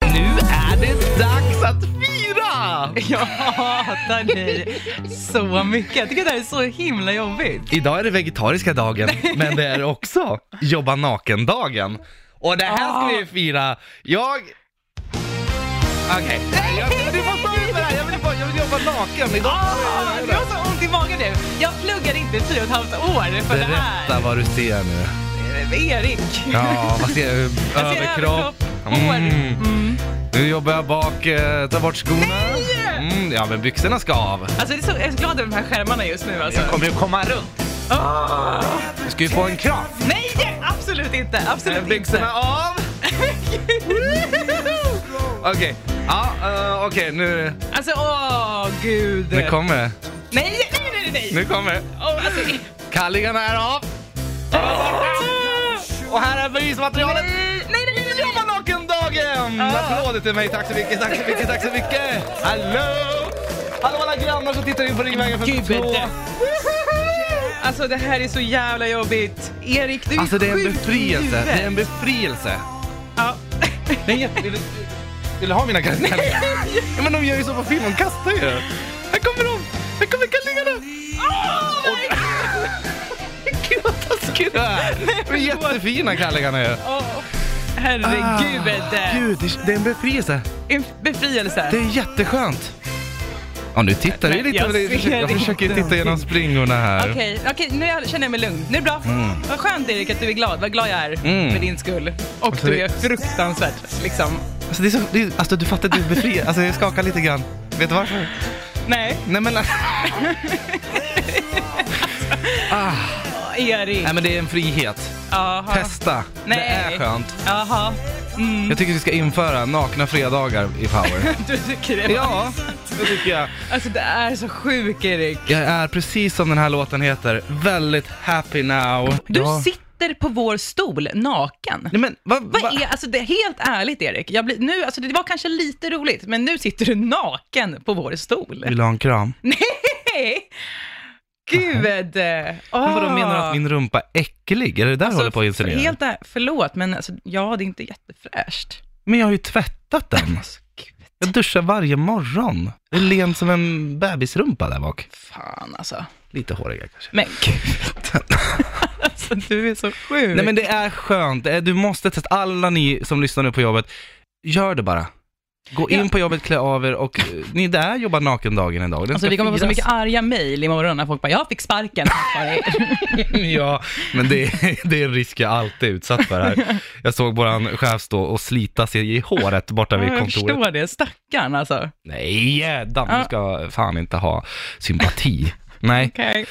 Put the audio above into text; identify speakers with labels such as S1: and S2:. S1: jag, jag hatar dig så mycket. Jag tycker det här är så himla jobbigt.
S2: Idag är det vegetariska dagen, men det är också jobba naken-dagen. Och det här ska
S1: Ah.
S2: vi fira. Jag... Okej, jag, du får stå ut med det här. Jag vill, bara- jag vill jobba naken idag.
S1: Ah, jag har så ont i magen nu. Jag pluggade inte i fyra och ett halvt år för det här.
S2: Berätta vad du ser nu.
S1: Erik.
S2: Ja, vad ser du?
S1: Jag ser
S2: Överkropp.
S1: hår. Mm.
S2: Nu jobbar jag bak, eh, ta bort skorna.
S1: Nej!
S2: Mm, ja, men byxorna ska av.
S1: Alltså det är så, jag är så glad över de här skärmarna just nu alltså.
S2: kommer ju komma runt.
S1: Ah.
S2: Du ska ju få en kram.
S1: Nej, absolut inte.
S2: Eh,
S1: Absolut
S2: Byxorna
S1: inte.
S2: av. Okej, ja, eh, okej, nu,
S1: Alltså åh gud.
S2: nu kommer det.
S1: Nej, nej, nej, nej.
S2: Nu kommer det.
S1: Åh, alltså, nej.
S2: Kallingarna är av. Ah! Och här är bevismaterialet.
S1: nej, nej, nej, nej.
S2: Jobba naken-dagen!
S1: Ah.
S2: Applåder till mig, tack så mycket, tack så mycket, tack så mycket! Hallå! Hallå alla grannar som tittar in på Ringvägen
S1: Gud,
S2: 52!
S1: det- Alltså det här är så jävla jobbigt. Erik, du är
S2: Alltså det är en
S1: sjuk i
S2: befrielse, det är en
S1: huvudet.
S2: befrielse!
S1: Ja.
S2: Det är en jätte- Vill du- vill du ha mina kallingar? Ja, men de gör ju så på film, de kastar ju! Här kommer de! Här kommer kallingarna!
S1: Ah,
S2: Gud vad taskigt det är! De är jättefina kallingarna ju!
S1: Åh, Herregud.
S2: Ah, Gud, det- det är en befrielse!
S1: En befrielse.
S2: Det är jätteskönt! Ja nu tittar du
S1: Nej,
S2: lite,
S1: jag
S2: jag, jag,
S1: ser
S2: försöker, jag försöker
S1: inte.
S2: titta genom springorna här.
S1: Okej, okej, nu är- känner jag mig lugn. Nu är det bra. Vad skönt Erik att du är glad. Vad glad jag är
S2: Mm.
S1: för din skull. Och
S2: Alltså,
S1: du
S2: det-
S1: är fruktansvärt liksom.
S2: Alltså, det är så, det är, alltså du fattar, du befriar, alltså jag skakar lite grann. Vet du varför?
S1: Nej,
S2: Nej men, alltså- ah,
S1: Åh, Erik.
S2: nej, men det är en frihet.
S1: Jaha.
S2: Testa, det är skönt.
S1: Jaha. Mm.
S2: Jag tycker vi ska införa nakna fredagar i Power.
S1: Du tycker det? va?
S2: ja, det tycker jag.
S1: Alltså det är så sjukt Erik.
S2: Jag är precis som den här låten heter, väldigt happy now.
S1: Du
S2: ja.
S1: sitter på vår stol naken.
S2: Nej men, vad,
S1: Vad
S2: vad-
S1: är, alltså det, helt ärligt Erik, jag blir, nu, alltså det var kanske lite roligt, men nu sitter du naken på vår stol.
S2: Vill du ha en kram?
S1: Nej! Gud! Ah.
S2: Men vadå, menar du att min rumpa är äcklig? Är det där du håller på att insinuera?
S1: Alltså, Helt där, förlåt, men alltså, ja, det är inte jättefräscht.
S2: Men jag har ju tvättat den.
S1: Gud,
S2: Jag duschar varje morgon. Det är len som en bebisrumpa där bak.
S1: fan alltså.
S2: Lite håriga kanske.
S1: Men gud. alltså du är så sjuk.
S2: Nej men det är skönt. Det är- Du måste testa. Alla ni som lyssnar nu på jobbet, gör det bara. Gå in
S1: Ja.
S2: på jobbet, klä av er och eh, ni där jobbar naken-dagen idag. Den
S1: Alltså
S2: ska
S1: vi kommer få så
S2: firas.
S1: mycket arga mejl imorgon när folk bara “jag fick sparken”.
S2: Ja, men det är, det är en risk jag alltid är utsatt för här. Jag såg våran chef stå och slita sig i håret borta vid
S1: Ja, jag
S2: kontoret.
S1: förstår det, stackarn alltså.
S2: Nej, Dan, du
S1: Ja.
S2: ska fan inte ha sympati. Nej.
S1: Okej.